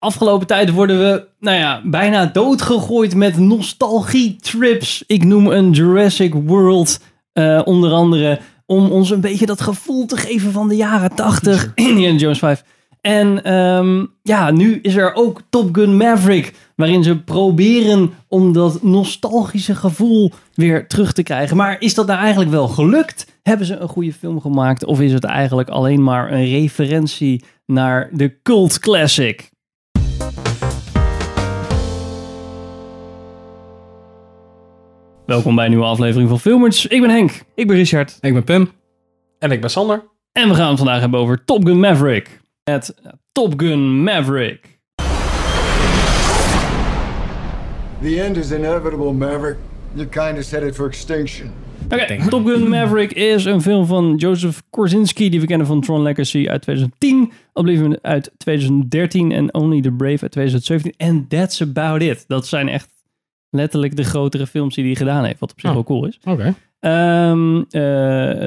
Afgelopen tijd worden we, nou ja, bijna doodgegooid met nostalgie-trips. Ik noem een Jurassic World, eh, onder andere, om ons een beetje dat gevoel te geven van de jaren 80. Indiana Jones 5. En ehm, ja, nu is er ook Top Gun Maverick, waarin ze proberen om dat nostalgische gevoel weer terug te krijgen. Maar is dat nou eigenlijk wel gelukt? Hebben ze een goede film gemaakt? Of is het eigenlijk alleen maar een referentie naar de cult classic? Welkom bij een nieuwe aflevering van Filmers. Ik ben Henk Ik ben Richard. Ik ben Pim. En ik ben Sander. en we gaan het vandaag hebben over Top Gun Maverick. Het eh, Top Gun Maverick. The end is inevitable, Maverick. Your kind is headed for extinction. Oké, Top Gun Maverick is een film van Joseph Kosinski, die we kennen van Tron Legacy uit 2010, Oblivion uit 2013 en Only the Brave uit 2017. En that's about it. Dat zijn echt letterlijk de grotere films die hij gedaan heeft, wat op zich Oh. wel cool is. Oké. Ehm, eh,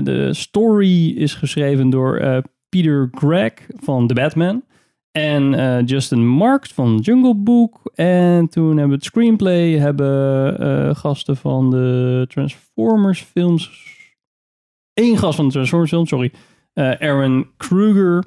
de story is geschreven door eh, Peter Gregg van The Batman. En eh, Justin Marks van Jungle Book. En toen hebben we het screenplay. Hebben eh, gasten van de Transformers films. Eén gast van de Transformers films, sorry. Eh, Aaron Kruger.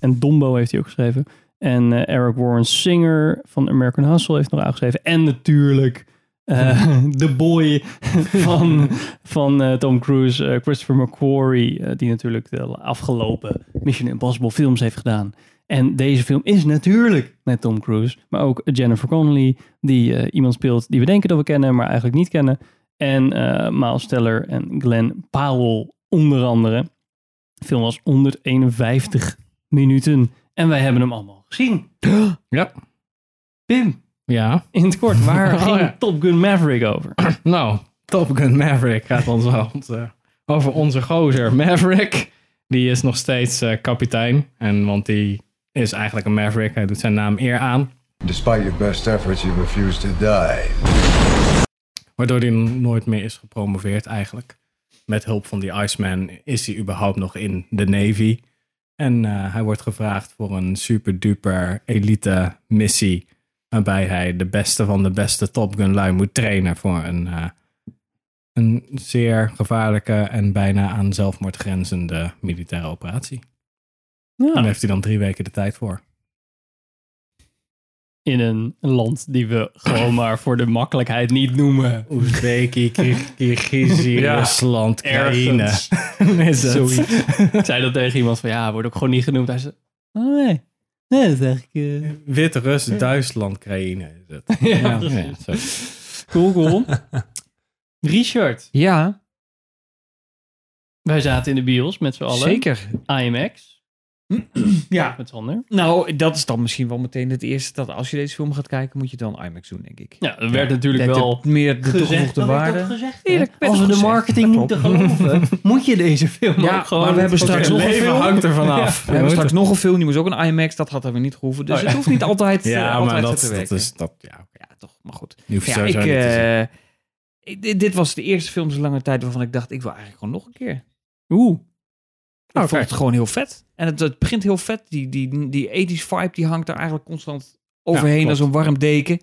En Dombo heeft hij ook geschreven. En eh, Eric Warren Singer van American Hustle heeft nog aangeschreven. En natuurlijk eh, de boy van, van eh, Tom Cruise, eh, Christopher McQuarrie, eh, die natuurlijk de afgelopen Mission Impossible films heeft gedaan. En deze film is natuurlijk met Tom Cruise, maar ook Jennifer Connelly, die eh, iemand speelt die we denken dat we kennen, maar eigenlijk niet kennen. En eh Miles Teller en Glenn Powell onder andere. De film was 151 minuten en wij hebben hem allemaal gezien. Ja. Pim, Ja. in het kort, waar Oh, ging ja. Top Gun Maverick over? Nou, Top Gun Maverick gaat ons wel ont- eh, over onze gozer Maverick. Die is nog steeds eh, kapitein. En want die is eigenlijk een Maverick. Hij doet zijn naam eer aan. Despite your best efforts, you refuse to die. Waardoor hij nooit meer is gepromoveerd eigenlijk. Met hulp van die Iceman is hij überhaupt nog in de Navy. En eh, hij wordt gevraagd voor een super duper elite missie. Waarbij hij de beste van de beste Top Gun lui moet trainen voor een, eh, een zeer gevaarlijke en bijna aan zelfmoord grenzende militaire operatie. En daar heeft hij dan drie weken de tijd voor. in een land die we gewoon maar voor de makkelijkheid niet noemen. Oezbeki, Kirgizië, Ja, Rusland, Oekraïne. ergens. Is het. Zoiets. Ik zei dat tegen iemand van ja, wordt ook gewoon niet genoemd. Hij zei, oh nee, nee, dat is eigenlijk eh, Wit-Rus, Duitsland, Oekraïne is het. Ja, cool, cool. Richard, Ja, wij zaten in de bios met z'n allen. zeker. IMAX, Ja. met Sander. Nou, dat is dan misschien wel meteen het eerste dat als je deze film gaat kijken, moet je dan IMAX doen, denk ik. Ja, dat werd natuurlijk Dat wel het meer de gezegd, toegevoegde dat Oh, werd ook waarde. gezegd, Ja, hè? dat werd Als we ook de gezegd. marketing Dat moeten klopt. geloven, moet je deze film Ja, ook gewoon... maar we hebben straks nog een leven film. hangt- ervan af. We hebben straks nog een film, die moest ook een IMAX, dat hadden we niet gehoeven. Dus Oh, ja. het hoeft niet altijd, eh, Ja, altijd maar dat, zo te dat werken. is... Dat, ja, Ja, toch, maar goed. nu hoef je Ja, ik, sowieso niet te zien. eh, ik- dit- dit was de eerste film zo lange tijd waarvan ik dacht, ik wil eigenlijk gewoon nog een keer. Oeh. Ik Oké. vond het gewoon heel vet. En het, het begint heel vet. Die, die, die 80s vibe die hangt er eigenlijk constant overheen klopt. als een warm deken.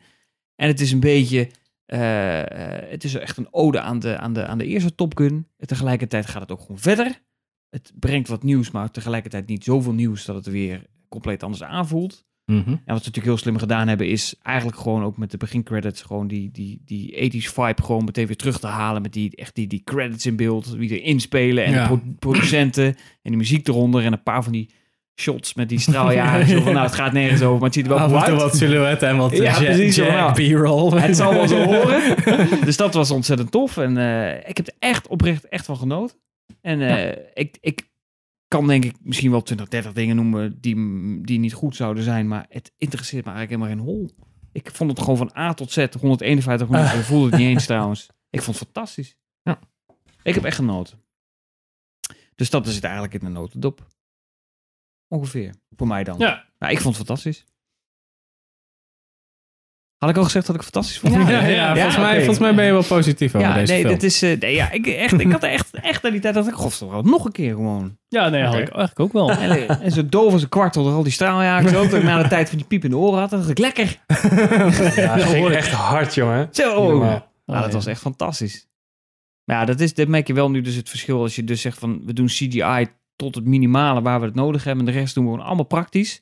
En het is een beetje... eh, eh, het is echt een ode aan de, aan de, aan de eerste Top Gun. En tegelijkertijd gaat het ook gewoon verder. Het brengt wat nieuws, maar tegelijkertijd niet zoveel nieuws dat het weer compleet anders aanvoelt. Mhm. En wat ze natuurlijk heel slim gedaan hebben, is eigenlijk gewoon ook met de begincredits gewoon die, die, die 80s vibe gewoon meteen weer terug te halen. Met die, echt die, die credits in beeld, wie er inspelen en Ja. de pro- producenten en die muziek eronder. En een paar van die shots met die straaljaren. Zo van, nou, het gaat nergens over, maar het ziet er wel Af goed en toe uit. Ah, wat silhouetten en wat eh, Ja, ja, precies, ja. B-roll. Het zal wel zo horen. Dus dat was ontzettend tof. En eh, ik heb er echt oprecht echt van genoten. En eh, ik, ik kan denk ik misschien wel 20, 30 dingen noemen die, m- die niet goed zouden zijn. Maar het interesseert me eigenlijk helemaal geen hol. Ik vond het gewoon van A tot Z 151 minuten. Ik voelde het niet eens trouwens. Ik vond het fantastisch. Ja. Ik heb echt genoten. Dus dat is het eigenlijk in de notendop. Ongeveer. Voor mij dan. Ja. Nou, ik vond het fantastisch. Had ik al gezegd dat ik het fantastisch vond? Ja, ja, volgens, mij, oké. volgens mij ben je wel positief over Ja, deze nee, film. dat is, eh, nee, ja, ik, echt, ik had echt, echt aan die tijd dat ik, godverdomme, nog een keer gewoon. Ja, nee, had Oké. ik eigenlijk ook wel. En, eh, en zo doof als een kwartel door al die straaljagers ook, dat ik na de tijd van die piep in de oren had, dacht ik, lekker. Ja, dat ging echt hard, jongen. Zo. Normaal. Ah, Nou, dat was echt fantastisch. Maar ja, dat, is, dat merk je wel nu dus het verschil. Als je dus zegt van, we doen CGI tot het minimale waar we het nodig hebben. En de rest doen we gewoon allemaal praktisch.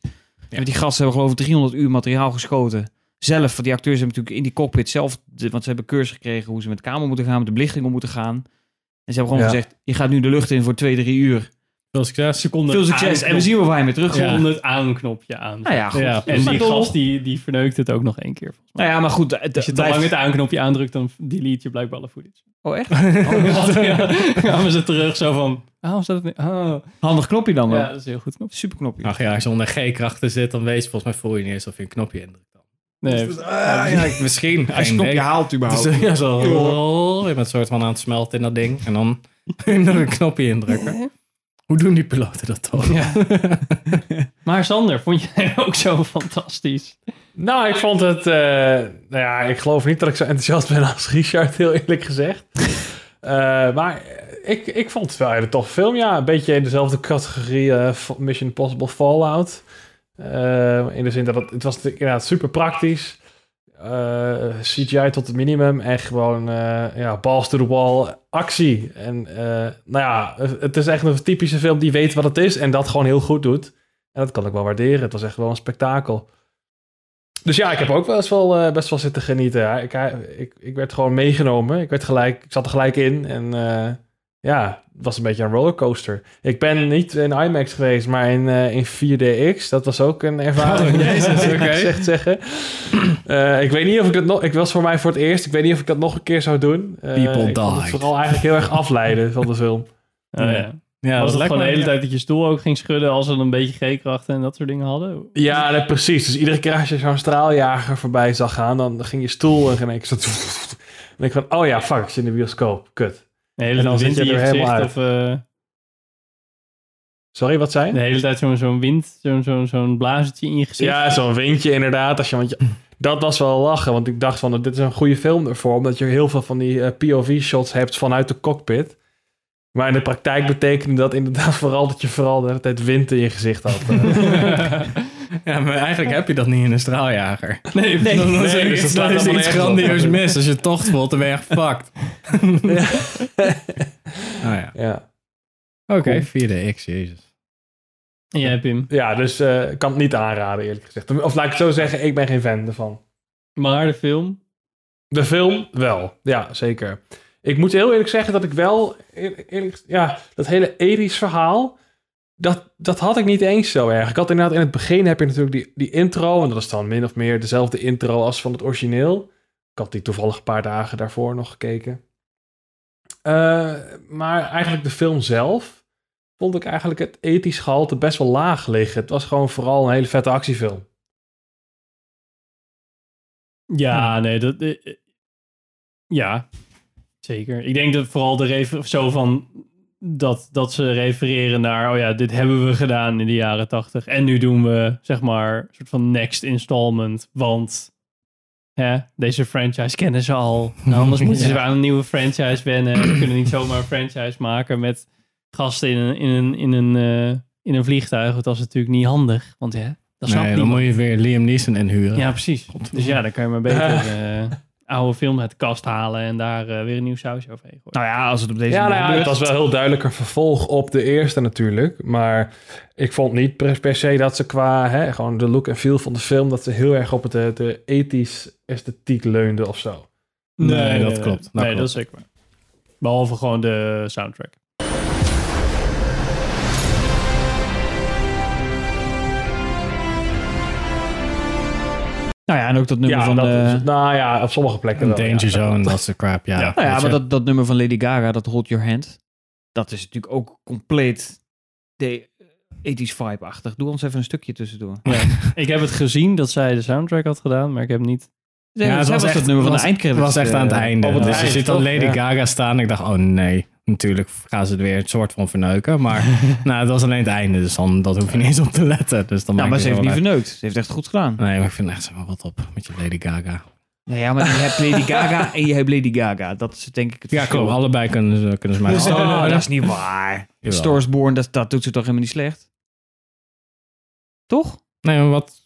Want die gasten hebben geloof ik 300 uur materiaal geschoten. Zelf, want die acteurs hebben natuurlijk in die cockpit zelf... de- Want ze hebben cursus gekregen hoe ze met de kamer moeten gaan, met de belichting om moeten gaan. En ze hebben gewoon Ja. gezegd, je gaat nu de lucht in voor twee, drie uur. Veel succes. seconde Veel succes en we zien wel waar je mee terugkomt. Gewoon het aanknopje aan. Nou ja, goed. Ja, En Maar die toch. gast die, die verneukt het ook nog één keer. volgens mij. Nou ja, maar goed. Als je te lang het aanknopje aandrukt, dan delete je blijkbaar alle footage. Oh, echt? ja, kwamen ze terug zo van... Oh, staat het niet? Oh. Handig knopje dan wel. Ja, dat is een heel goed knop. Super knopje. Ach ja, als je onder G-krachten zit, dan weet je volgens mij voel je niet eens of je een knopje indrukt. Nee, Dus, ah, ja, ik- misschien. Als je een knopje haalt überhaupt. ja, zo. oh, Je bent een soort van aan het smelten in dat ding. En dan een knopje indrukken. Hoe doen die piloten dat dan? maar Sander, vond jij hem ook zo fantastisch? Nou, ik vond het... eh, nou ja, ik geloof niet dat ik zo enthousiast ben als Richard, heel eerlijk gezegd. Eh, maar ik, ik vond het wel een hele toffe film, ja. Een beetje in dezelfde categorie eh, van Mission Impossible Fallout. Eh, in de zin dat het, het was natuurlijk inderdaad super praktisch. Eh, CGI tot het minimum en gewoon eh, ja, balls to the wall actie. En eh, nou ja, het is echt een typische film die weet wat het is en dat gewoon heel goed doet. En dat kan ik wel waarderen. Het was echt wel een spektakel. Dus ja, ik heb ook wel eens wel, eh, best wel zitten genieten. Ja, ik, ik, ik werd gewoon meegenomen. Ik, werd gelijk, ik zat er gelijk in. En eh, ja, het was een beetje een rollercoaster. Ik ben niet in IMAX geweest, maar in, eh, in 4DX. Dat was ook een ervaring. Oh, jezus, moet ik oké. echt zeggen. Eh, ik weet niet of ik dat nog... Ik was voor mij voor het eerst. Ik weet niet of ik dat nog een keer zou doen. Eh, People ik vond het died. vooral eigenlijk heel erg afleiden van de film. Oh, Ja. ja. Ja, was het lijkt gewoon de me- hele tijd dat je stoel ook ging schudden als ze dan een beetje G-krachten en dat soort dingen hadden? Ja, nee, precies. Dus iedere keer als je zo'n straaljager voorbij zag gaan, dan ging je stoel en ging ik zo... En ik van, oh ja, fuck, ik zit in de bioscoop. Kut. De hele En dan tijd zit wind je in je er gezicht helemaal of... eh, Sorry, wat zei je? de hele tijd zo'n zo'n wind, zo'n zo'n zo'n blazertje in je gezicht. Ja, zo'n windje inderdaad. Als je, want je- dat was wel lachen, want ik dacht van, dit is een goede film ervoor, omdat je heel veel van die eh, POV-shots hebt vanuit de cockpit. Maar in de praktijk betekende dat inderdaad vooral dat je vooral de hele tijd wind in je gezicht had. eh. Ja, maar eigenlijk heb je dat niet in een straaljager. nee, Dan- Dan is er dus iets- dat slaat dan is er helemaal iets nergens op. grandioos mis. Als je tocht voelt, dan ben je echt fucked. Oh ja. ja. Oké, 4DX, jezus. En jij Pim. ja, dus eh, ik kan het niet aanraden, eerlijk gezegd. Of laat ik het zo zeggen, ik ben geen fan ervan. Maar de film? De film wel, ja, zeker. Ik moet heel eerlijk zeggen dat ik wel, eer- eerlijk, ja, dat hele Eris verhaal, dat, dat had ik niet eens zo erg. Ik had inderdaad in het begin heb je natuurlijk die, die intro, en dat is dan min of meer dezelfde intro als van het origineel. Ik had die toevallig een paar dagen daarvoor nog gekeken. Eh, maar eigenlijk de film zelf vond ik eigenlijk het ethisch gehalte best wel laag liggen. Het was gewoon vooral een hele vette actiefilm. Ja, nee, dat... eh, eh, ja, zeker. Ik denk dat vooral de refer- of zo van... Dat, dat ze refereren naar, oh ja, dit hebben we gedaan in de jaren tachtig. En nu doen we, zeg maar, een soort van next installment. Want hè, deze franchise kennen ze al. Nou, anders moeten ze Ja. weer aan een nieuwe franchise wennen. We kunnen niet zomaar een franchise maken met gasten in een, in een, in een, eh, in een vliegtuig. Want dat is natuurlijk niet handig. Want hè, dat snapt Nee, niemand. dan moet je weer Liam Neeson inhuren. Ja, precies. Dus ja, dan kan je maar beter eh, oude film uit de kast halen en daar eh, weer een nieuw sausje overheen gooien. Nou ja, als het op deze Ja, manier nou ja, het gebeurt. was wel heel duidelijk een vervolg op de eerste natuurlijk. Maar ik vond niet per, per se dat ze qua hè, gewoon de look en feel van de film... dat ze heel erg op het, eh, de ethisch esthetiek leunde of zo. Nee, dat nee, klopt. Dat klopt. dat Nou, is zeker waar. Behalve gewoon de soundtrack. Nou ja, en ook dat nummer ja, van... dat eh, is- nou ja, op sommige plekken Een wel, ja. danger zone, dat soort crap, ja. Ja. nou Weet ja, maar je? dat, dat nummer van Lady Gaga, dat Hold Your Hand. Dat is natuurlijk ook compleet de 80s vibe-achtig. Doe ons even een stukje tussendoor. ik heb het gezien dat zij de soundtrack had gedaan, maar ik heb niet... Ja, het dat was was echt- het nummer van was- de eindcredits. Het was echt aan het eh, einde. op het dus je eind, ziet dan toch? Lady Ja. Gaga staan. Ik dacht, oh nee, natuurlijk gaan ze het weer een soort van verneuken. Maar nou, het was alleen het einde, dus dan dat hoef je niet eens op te letten. Dus dan Ja, maakt maar ze het heeft niet wel verneukt. Ze heeft echt goed gedaan. uit. Nee, maar ik vind echt, zeg maar, wat op met je Lady Gaga. Nou ja, maar je hebt Lady Gaga en je hebt Lady Gaga. Dat is denk ik het Ja, verschil. klopt. Allebei kunnen ze, kunnen ze mij... Oh, Oh, dat is niet waar. Jawel. Stores Born, dat, dat doet ze toch helemaal niet slecht? Toch? Nee, maar wat...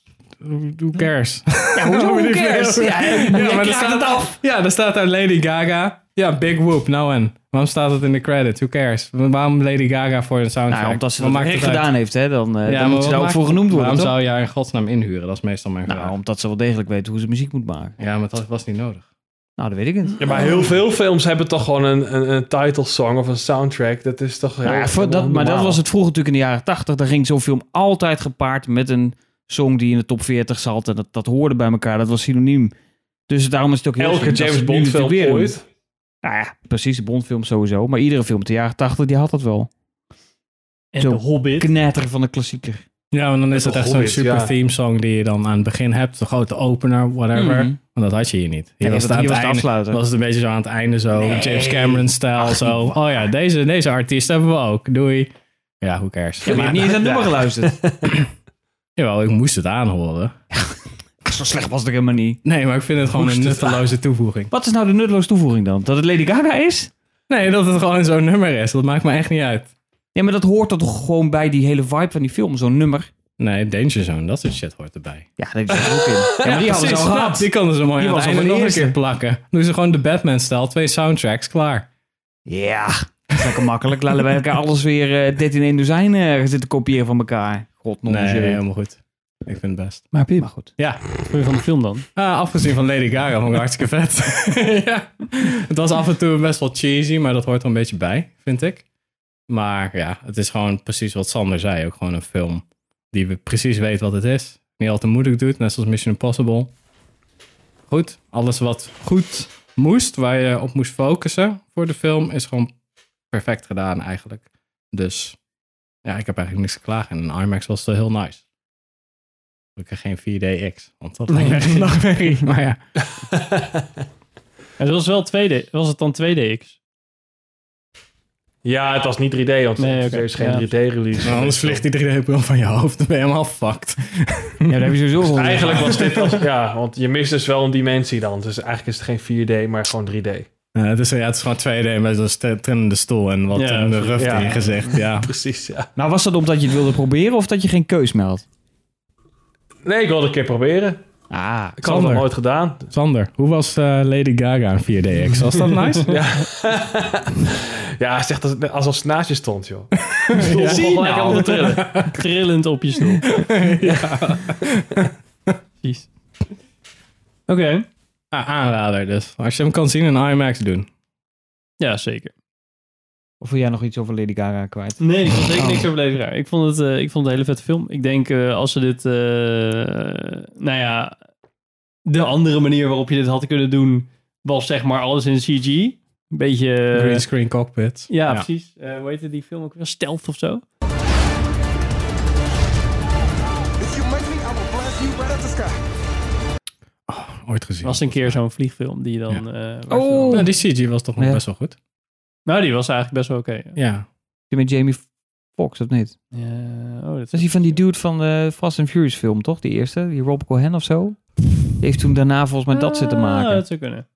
Who cares? Ja, hoezo? Who cares? Ja, Oh, ja, maar er staat- het af. Ja, daar staat daar Lady Gaga. Ja, Big Whoop, nou en. Waarom staat het in de credits? Who cares? Waarom Lady Gaga voor een soundtrack? Nou, omdat ze Wat dat maakt echt het uit? gedaan heeft, hè, dan, Ja, eh, dan maar moet ze wat daar ook maakt- voor genoemd worden. Waarom toch? zou je haar in godsnaam inhuren? Dat is meestal mijn vraag. Nou, omdat ze wel degelijk weet hoe ze muziek moet maken. ja, maar dat was niet nodig. Nou, dat weet ik niet. Ja, maar heel veel films hebben toch gewoon een, een, een titlesong of een soundtrack. Dat is toch heel Nou ja, voor gewoon dat, maar dat normaal. was het vroeger natuurlijk in de jaren 80. Daar ging zo'n film altijd gepaard met een song die in de top 40 zat. En dat, dat hoorde bij elkaar. Dat was synoniem. Dus daarom is het ook heel Elke slim dat ze James het nu Bond film natuurlijk weer doen. ooit. Nou ja, precies. De Bondfilm sowieso. Maar iedere film uit de jaren 80 die had dat wel. En Zo. de Hobbit. Knetter van de klassieker. Ja, want dan is het echt zo'n Hobbit, super ja. theme song die je dan aan het begin hebt. De grote opener, whatever. Mhm. Want dat had je hier niet. Hier Ja, was dat- het aan het hier was de einde. afsluiter. Was het een beetje zo aan het einde zo. James Cameron-stijl zo. Oh ja, deze, deze artiest hebben we ook. Doei. Ja, who cares? Ik heb Maar- niet eens aan het nummer geluisterd. Jawel, ik moest het aanhoren. Zo slecht was het ook helemaal niet. Nee, maar ik vind het gewoon Moest een het nutteloze toevoeging. Wat is nou de nutteloze toevoeging dan? Dat het Lady Gaga is? Nee, dat het gewoon zo'n nummer is. Dat maakt me echt niet uit. Ja, maar dat hoort er toch gewoon bij die hele vibe van die film, zo'n nummer. Nee, Danger Zone, dat soort shit hoort erbij. Ja, dat is er ook in. Ja, maar die hadden ze al Precies, gehad. Die konden ze mooi Die aan was het al einde van nog de een keer plakken. Doen ze gewoon de Batman-stijl, twee soundtracks, klaar. Ja, dat is lekker makkelijk. Laten we elkaar alles weer eh 13 in een dozijn eh, zitten kopiëren van elkaar. God, nog Nee, nee, helemaal goed. Ik vind het best. Maar Pim, Maar goed. wat vond je van de film dan? Ah, afgezien van Lady Gaga vond ik het hartstikke vet. ja. Het was af en toe best wel cheesy, maar dat hoort er een beetje bij, vind ik. Maar ja, het is gewoon precies wat Sander zei. Ook gewoon een film die we precies weet wat het is. Niet al te moeilijk doet, net zoals Mission Impossible. Goed, alles wat goed moest, waar je op moest focussen voor de film, is gewoon perfect gedaan eigenlijk. Dus ja, ik heb eigenlijk niks te klagen. En in IMAX was het wel heel nice. Gelukkig geen 4DX, want dat lijkt me echt een nachtmerrie. Maar ja, Het was wel 2D. Was het dan 2DX? Ja, het was niet 3D, want Nee, oké. er is geen Ja. 3D-release. Maar Nou, anders vliegt die 3D-bril van je hoofd. Dan ben je helemaal fucked. Ja, daar heb je sowieso wel. Dus Eigenlijk was dit als, ja, want je mist dus wel een dimensie dan. Dus eigenlijk is het geen 4D, maar gewoon 3D. Eh, het, is, ja, het is gewoon 2D met zo'n st- trillende stoel en wat Ja, in de rug ja. in je gezicht. Ja. Precies, ja. Nou, was dat omdat je het wilde proberen of dat je geen keus meldt? Nee, ik wilde een keer proberen. Ah, Ik had het nog Sander. nooit gedaan. Sander, hoe was eh, Lady Gaga in 4DX? Was Oh, dat nice? Ja, ja hij zegt als- alsof ze naast je stond, joh. Stond ja. Zie gelijk aan nou. te trillen. Trillend op je stoel. ja. Precies. Oké. Ah, aanrader dus. Als je hem kan zien in IMAX doen. Ja, zeker. of wil jij nog iets over Lady Gaga kwijt? Nee, ik vond zeker Oh. niks over Lady Gaga. Ik vond het, eh, ik vond het een hele vette film. Ik denk eh, als ze dit, eh, nou ja, de andere manier waarop je dit had kunnen doen, was zeg maar alles in CG. Een beetje... eh, Green screen cockpit. ja, precies. Eh hoe heette die film ook weer? Stealth of zo? If you make me, I will blast you right up the sky. Ooit gezien. was een keer zo'n vliegfilm die je dan... eh, waar ze dan- Oh. Nou, die CG was toch nog Ja. best wel goed. Nou, die was eigenlijk best wel oké. Ja. Die Met Jamie Foxx, of niet? Ja, oh, dat Dat is die van die dude van de Fast and Furious film, toch? Die eerste, die Rob Cohen of zo. Die heeft toen daarna volgens mij dat zitten Ah, maken, dat zou kunnen.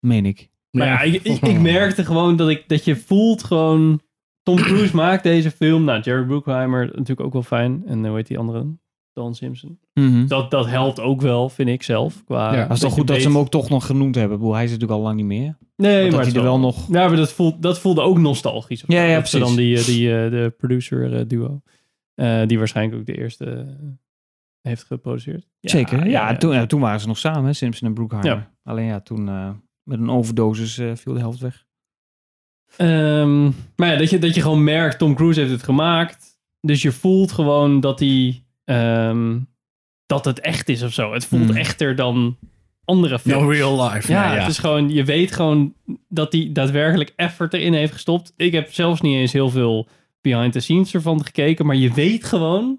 meen ik. Maar ja, ik, ik, ik merkte gewoon dat, ik, dat je voelt gewoon... Tom Cruise maakt deze film. Nou, Jerry Bruckheimer natuurlijk ook wel fijn. En eh, hoe heet die andere? Dan Simpson. Mhm. Dat, dat helpt ook wel, vind ik zelf. Qua Ja. Maar het is toch goed dat ze hem ook toch nog genoemd hebben. Ik bedoel, hij is natuurlijk al lang niet meer. Nee, dat maar hij het er wel- wel nog... Ja, maar dat, voelt, dat voelde ook nostalgisch. of Ja, zo. ja, dat ze dan precies. die, eh, die eh, de producer eh, duo. eh, die waarschijnlijk ook de eerste eh, heeft geproduceerd. Ja, Zeker. Ja, ja. Toen, ja, toen waren ze nog samen, hè, Simpson en Broekheimer. Ja. Alleen ja, toen eh, met een overdosis eh, viel de helft weg. Ehm, maar ja, dat je, dat je gewoon merkt, Tom Cruise heeft het gemaakt. Dus je voelt gewoon dat hij... ehm, dat het echt is of zo. Het voelt Mm. echter dan andere films. Hmm. No real life. ja, Nee, het is gewoon... Je weet gewoon dat hij daadwerkelijk effort erin heeft gestopt. Ik heb zelfs niet eens Hmm. heel veel behind the scenes ervan gekeken. Maar je weet gewoon,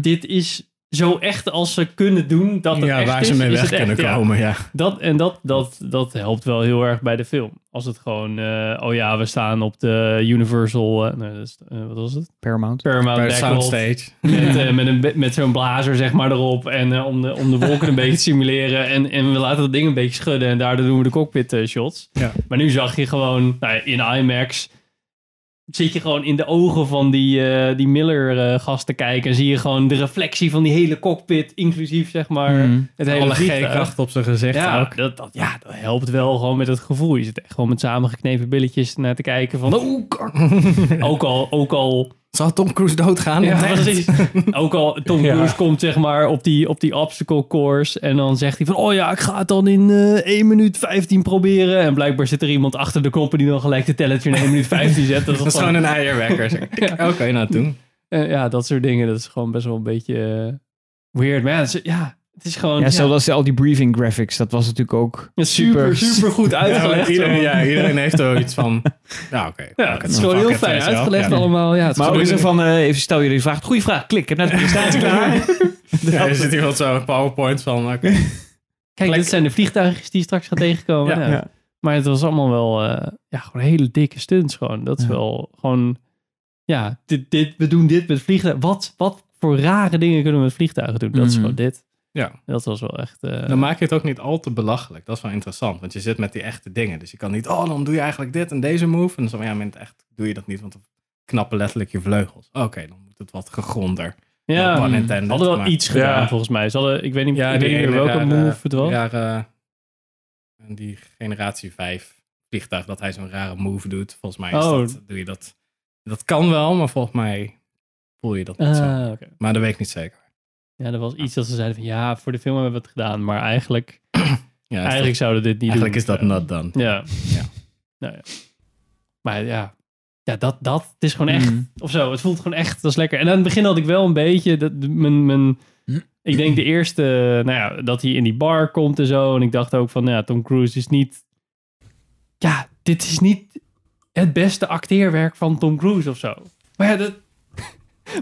dit is zo echt als ze kunnen doen dat het ja, echt waar is, ze mee is weg het kunnen echt, ja. komen, ja. Dat, en dat, dat, dat helpt wel heel erg bij de film. Als het gewoon, eh, oh ja, we staan op de Universal, eh, nee, dat is, eh, wat was het? Paramount. Paramount Bij de Backlot. soundstage. Met, eh, met, een, be- met zo'n blazer zeg maar erop en eh, om, de, om de wolken een beetje te simuleren. En, en we laten dat ding een beetje schudden en daardoor doen we de cockpit eh, shots. Ja. Maar nu zag je gewoon, nou ja, in IMAX zit je gewoon in de ogen van die, eh, die Miller eh, gast te kijken. En zie je gewoon de reflectie van die hele cockpit, inclusief zeg maar Mhm. het hele Alle vliegtuig. G-kracht op zijn gezicht Ja, ook. dat, dat, ja, dat helpt wel gewoon met het gevoel. Je zit echt gewoon met samengeknepen billetjes naar te kijken van... Oh, kak. ook al, ook al, Zal Tom Cruise doodgaan? ja, Nee. precies. ook al Tom Ja. Cruise komt zeg maar op die, op die obstacle course... en dan zegt hij van... Oh ja, ik ga het dan in eh 1 minuut 15 proberen. En blijkbaar zit er iemand achter de knoppen... die dan gelijk de tellertje in 1 minuut 15 zet. Dat is Dat is gewoon- gewoon een eierwekker. zeg. Tik, Oké, nou toen. eh, ja, dat soort dingen. Dat is gewoon best wel een beetje eh, weird. Maar ja, het is- ja, het is gewoon... Ja, ja, zoals al die briefing graphics, dat was natuurlijk ook... super, super goed Ja, uitgelegd. want iedereen, ja, iedereen heeft er iets van. Nou, oké. Ja, het is gewoon heel fijn uitgelegd allemaal. Ja, het is Maar gewoon- ook zo van, eh, even stel jullie de vraag. Goeie vraag, klik. Ik heb net de presentatie klaar. Ja, er zit iemand zo een PowerPoint van. oké. Kijk, dit zijn de vliegtuigjes die je straks gaat tegenkomen. Ja, Ja. ja. Maar het was allemaal wel eh, ja, gewoon hele dikke stunts. Gewoon. Dat is wel gewoon... Ja, dit, dit, we doen dit met vliegtuigen. Wat, wat voor rare dingen kunnen we met vliegtuigen doen? Dat is Mhm. gewoon dit. Ja. Dat was wel echt... eh, Dan maak je het ook niet al te belachelijk. Dat is wel interessant, want je zit met die echte dingen. Dus je kan niet, oh, dan doe je eigenlijk dit en deze move. En dan zo, ja, maar in het echt doe je dat niet, want dan knappen letterlijk je vleugels. Oké, dan moet het wat gegronder. ja, Pun ze intended, hadden wel maar- iets gedaan Ja. volgens mij. Ze hadden, ik weet niet, ik weet niet ene meer welke rare- move het was. rare- en die generatie 5 vliegtuig, dat hij zo'n rare move doet. Volgens mij is Oh. dat, doe je dat. Dat kan wel, maar volgens mij voel je dat niet zo. Ah, oké. Maar dat weet ik niet zeker. Ja, er was iets dat ze zeiden van... Ja, voor de film hebben we het gedaan. Maar eigenlijk, Ja, is eigenlijk dat- zouden we dit niet eigenlijk doen. is dat not done. Ja. Ja. Nou ja. Maar ja. Ja, dat, dat het is gewoon echt. Mm. Of zo. Het voelt gewoon echt. Dat is lekker. En aan het begin had ik wel een beetje. Dat, mijn, mijn, ik denk de eerste. Nou ja, dat hij in die bar komt en zo. En ik dacht ook van. Nou ja, Tom Cruise is niet. Ja, dit is niet het beste acteerwerk van Tom Cruise of zo. Maar ja, dat.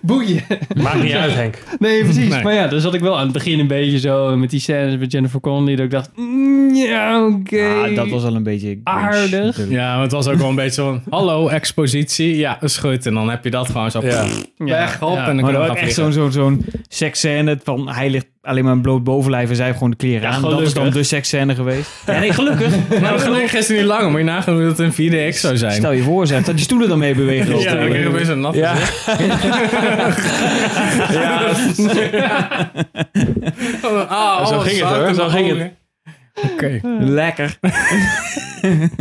Boeien. Maakt niet uit, Henk. Nee, precies. Nee. Maar ja, dus had ik wel aan het begin een beetje zo. Met die scènes met Jennifer Connelly. Dat ik dacht. mm, ja, oké. Ah, dat was al een beetje... cringe, Aardig. natuurlijk. Ja, want het was ook wel een beetje zo'n hallo expositie. Ja, schud. En dan heb je dat gewoon zo Ja. pff, Ja, weg op. ja. En dan kunnen Maar dat we was gaan echt vliegen. zo'n zo'n zo'n seksscène van hij ligt alleen maar een bloot bovenlijf en zij heeft gewoon de kleren Ja, aan. Dat gelukkig. is dan de seksscène geweest. Ja, nee, gelukkig. Maar dat ging gisteren niet lang. Moet je nagaan hoe dat in 4DX zou zijn. Stel je voor, zeg, dat die stoelen dan mee bewegen. ja, dan krijg je weer zo'n nat Ja. gezicht. Ja, Ah, Zo oh, ging het, zak hoor. in Zo mijn ging het. ogen. Oké. Lekker.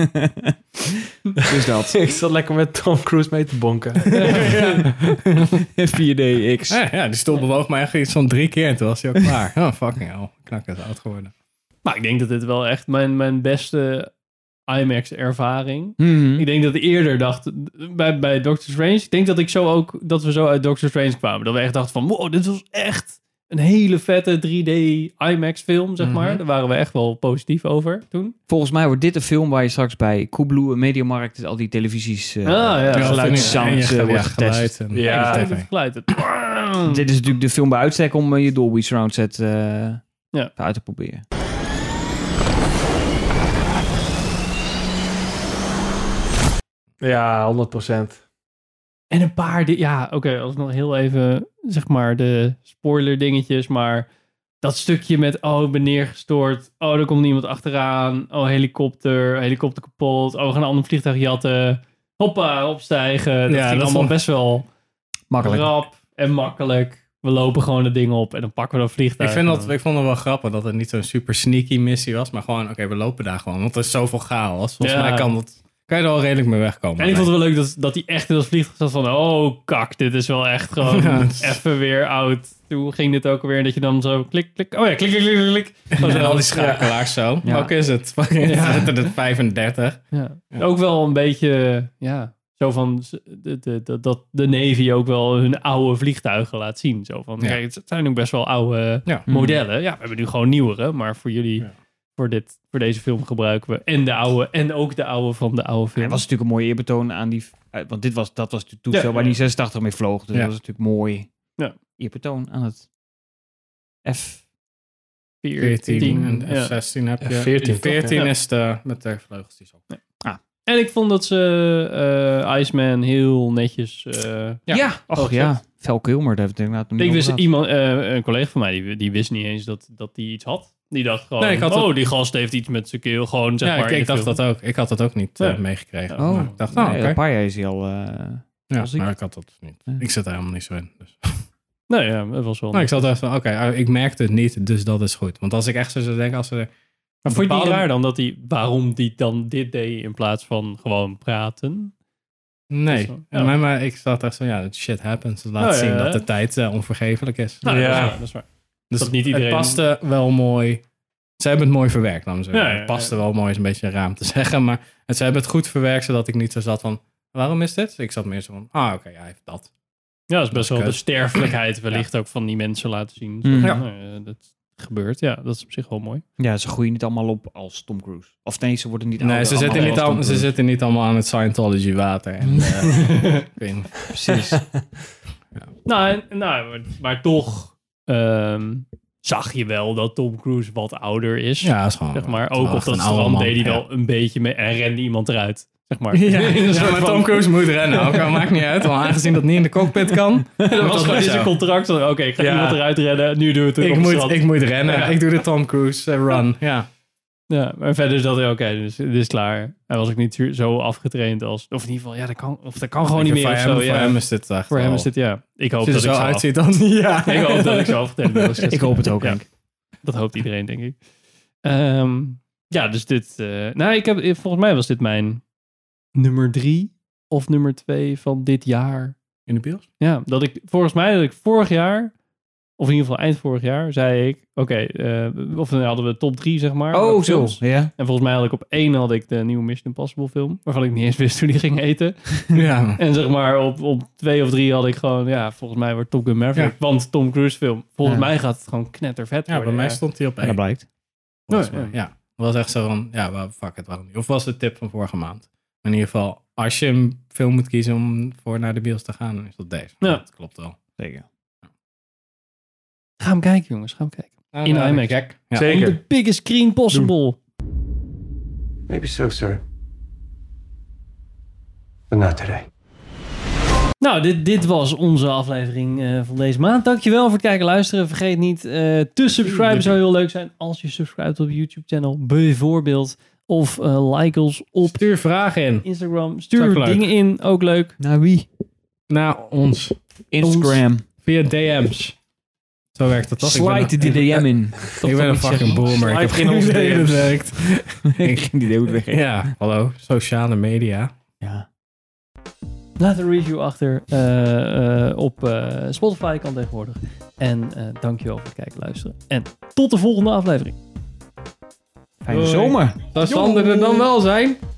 dus dat. ik zat lekker met Tom Cruise mee te bonken. 4DX. Ja, ja, die stoel bewoog mij echt iets van drie keer en toen was hij ook klaar. Oh, fucking hell. Knak is oud geworden. Maar ik denk dat dit wel echt mijn, mijn beste IMAX-ervaring. Hmm. Mhm. Ik denk dat ik eerder dacht, bij, bij Doctor Strange, ik denk dat ik zo ook, dat we zo uit Doctor Strange kwamen. Dat we echt dachten van, wow, dit was echt een hele vette 3D IMAX-film, zeg maar. Mhm. Daar waren we echt wel positief over toen. Volgens mij wordt dit een film waar je straks bij Koebloe, Mediamarkt, al die televisies, eh, Ah, ja. Ja, geluid, sound, eh, wordt getest. geluid. En Ja. en Dat de tv. het geluid. het- Hmm. Dit is natuurlijk de film bij uitstek om eh, je Dolby Surround set eh, uit te proberen. Ja, 100%. En een paar, di- ja, oké, als nog heel even, zeg maar, de spoiler dingetjes, maar dat stukje met, oh, ik ben neergestort, oh, er komt iemand achteraan, oh, helikopter, helikopter kapot, oh, we gaan een ander vliegtuig jatten, hoppa, opstijgen. Dat ging Ja, dat allemaal vond- best wel Makkelijk. rap en makkelijk. We lopen gewoon het ding op en dan pakken we dat Ik, vliegtuig. vind dat, ik vond het wel grappig dat het niet zo'n super sneaky missie was, maar gewoon, oké, we lopen daar gewoon, want er is zoveel chaos. Volgens Ja. mij kan, dat, kan je er al redelijk mee wegkomen. En ik vond het wel leuk dat, dat hij echt in dat vliegtuig zat van... Oh, kak, dit is wel echt gewoon Ja, het is- even weer oud. Hoe ging dit ook alweer? En dat je dan zo klik, klik. Oh ja, klik, klik, klik, klik. Dat was En al wel- die schakelaars zo. Ja. Ook is het. Fucking Ja. zitten er 35. Ja. Ook wel een beetje, ja, zo van z- de, de, de- dat de Navy ook wel hun oude vliegtuigen laat zien. Zo van, Ja. kijk, het zijn ook best wel oude Ja. modellen. Ja, we hebben nu gewoon nieuwere, maar voor jullie, Ja. voor, dit, voor deze film gebruiken we en de oude en ook de oude van de oude film. Het was natuurlijk een mooie eerbetoon aan die... eh, Want dit was, dat was natuurlijk toestel Ja, ja, waar die ja. 86 mee vloog. Dus Ja. dat was natuurlijk mooi Ja. eerbetoon aan het F. 14 en ja. F16 heb je. 14 14, toch? Ja. is de, met de vleugels die zo. En ik vond dat ze eh, Iceman heel netjes... eh, Ja. Oh, Och ja, Vel Kilmer, daar hebben we het inderdaad nog niet ik wist over gehad. iemand, eh, een collega van mij, die, die wist niet eens dat, dat die iets had. Die dacht gewoon, Nee, ik had oh, het- die gast heeft iets met zijn keel. Gewoon, zeg ja, maar, ik, in ik de dacht film. dat ook. Ik had dat ook niet eh, Ja. meegekregen. Oh. Maar ik dacht, nou, Nee, oké. Een paar jaar is hij al... eh, Ja, dus was ik- maar ik had dat dus niet. Ja. Ik zat er helemaal niet zo in. Dus. Nee, ja, dat was wel... Nou, ik zat echt van, oké, ah, ik merkte het niet, dus dat is goed. Want als ik echt zo zou denken, als ze... maar vond je het niet bepaalde- raar dan dat die, waarom die dan dit deed in plaats van gewoon praten? Nee, Dat is wel- En ja. maar, maar ik zat echt zo, ja, that shit happens. Het laat Nou, ja, zien ja. dat de tijd eh, onvergevelijk is. Nou, Ja. dat is waar, dat is waar. dus dat niet iedereen- het paste wel mooi. Ze hebben het mooi verwerkt, laten we zeggen. Ja, ja, ja. Het paste wel mooi, is een beetje raam te zeggen. Maar het, ze hebben het goed verwerkt, zodat ik niet zo zat van, waarom is dit? Ik zat meer zo van, ah, oké, hij heeft dat. Ja, dat is best Dat wel is de kut. sterfelijkheid wellicht ook van die mensen laten zien. Mm. Zo, Ja. nou, eh, dat gebeurt, ja, dat is op zich wel mooi. Ja, ze groeien niet allemaal op als Tom Cruise. Of nee, ze worden niet Nee, ouder ze zitten, allemaal niet als Tom al, ze Cruise. zitten niet allemaal aan het Scientology water. En, eh, ik weet niet. Precies. Nou, en- nou maar, maar toch ehm, zag je wel dat Tom Cruise wat ouder is. Ja, is gewoon... Zeg maar, het is ook op echt dat een oude strand man, deed hij ja. wel een beetje mee en rende iemand eruit. Zeg maar. Ja. Een soort Ja, maar van- Tom Cruise moet rennen. Ook al maakt niet uit, want aangezien dat niet in de cockpit kan. Dat was gewoon in zijn zo. contract. van, Oké, ik ga Ja. iemand eruit redden. Nu doe het Ik op het moet, strand. ik moet rennen. Ja. Ik doe de Tom Cruise eh, run. Ja. Ja, maar verder is dat oké. dus dit is klaar. Hij was ook niet zo afgetraind als... Of in ieder geval, ja, dat kan, of dat kan gewoon niet meer. Voor of hem, zo, voor ja. hem is dit echt Voor hem wel- is dit, ja. Ik hoop Als je er dat ik zo zo af- uitziet dan... Ja. Ik hoop dat ik zo afgetraind ben. als ik hoop het ook, Ja. Henk. Dat hoopt iedereen, denk ik. Ehm, ja, dus dit... eh, nou, ik heb, eh, volgens mij was dit mijn nummer drie of nummer twee van dit jaar. In de bios? Ja, dat ik volgens mij dat ik vorig jaar... Of in ieder geval eind vorig jaar zei ik, oké, eh, of dan hadden we de top drie, zeg maar. Oh, Welke zo. films. Ja. En volgens mij had ik op één had ik de nieuwe Mission Impossible film, waarvan ik niet eens wist hoe die ging eten. Ja. En zeg maar op, op twee of drie had ik gewoon, ja, volgens mij wordt Top Gun Maverick, want Tom Cruise film. Volgens Ja. mij gaat het gewoon knettervet Ja, bij worden. mij stond hij op En dat één. blijkt. volgens Ja, mij. ja. Oh, Ja. Dat was echt zo van, ja, wel, fuck het, waarom niet? Of was de tip van vorige maand? Maar in ieder geval, als je een film moet kiezen om voor naar de bios te gaan, dan is dat deze. Ja. Dat klopt wel. Zeker. Ga hem kijken, jongens, ga hem kijken. In Nou, IMAX. gek. Ja. Zeker. On the biggest screen possible. Maybe so, sir. But not today. Nou, dit, dit was onze aflevering eh, van deze maand. Dankjewel voor het kijken en luisteren. Vergeet niet eh, te subscriben. Zou heel leuk zijn als je subscribt op YouTube-channel bijvoorbeeld. Of eh, like ons op Stuur vragen in Instagram. Zou ik Stuur leuk. dingen in, ook leuk. Naar wie? naar ons. Instagram. Via DM's. Zo werkt dat toch? Ik ben- Slide die ik- DM in. Ik ben een fucking boomer. Ik heb Slide in geen onze idee hoe DM's. dat werkt. Ik ging die E dood weg. Ja, hallo. Sociale media. Ja. Laat een review achter eh, eh, op eh, Spotify kan tegenwoordig. En eh dankjewel voor het kijken en luisteren. En tot de volgende aflevering. Fijne Doei. zomer. Zou Sander er dan wel zijn?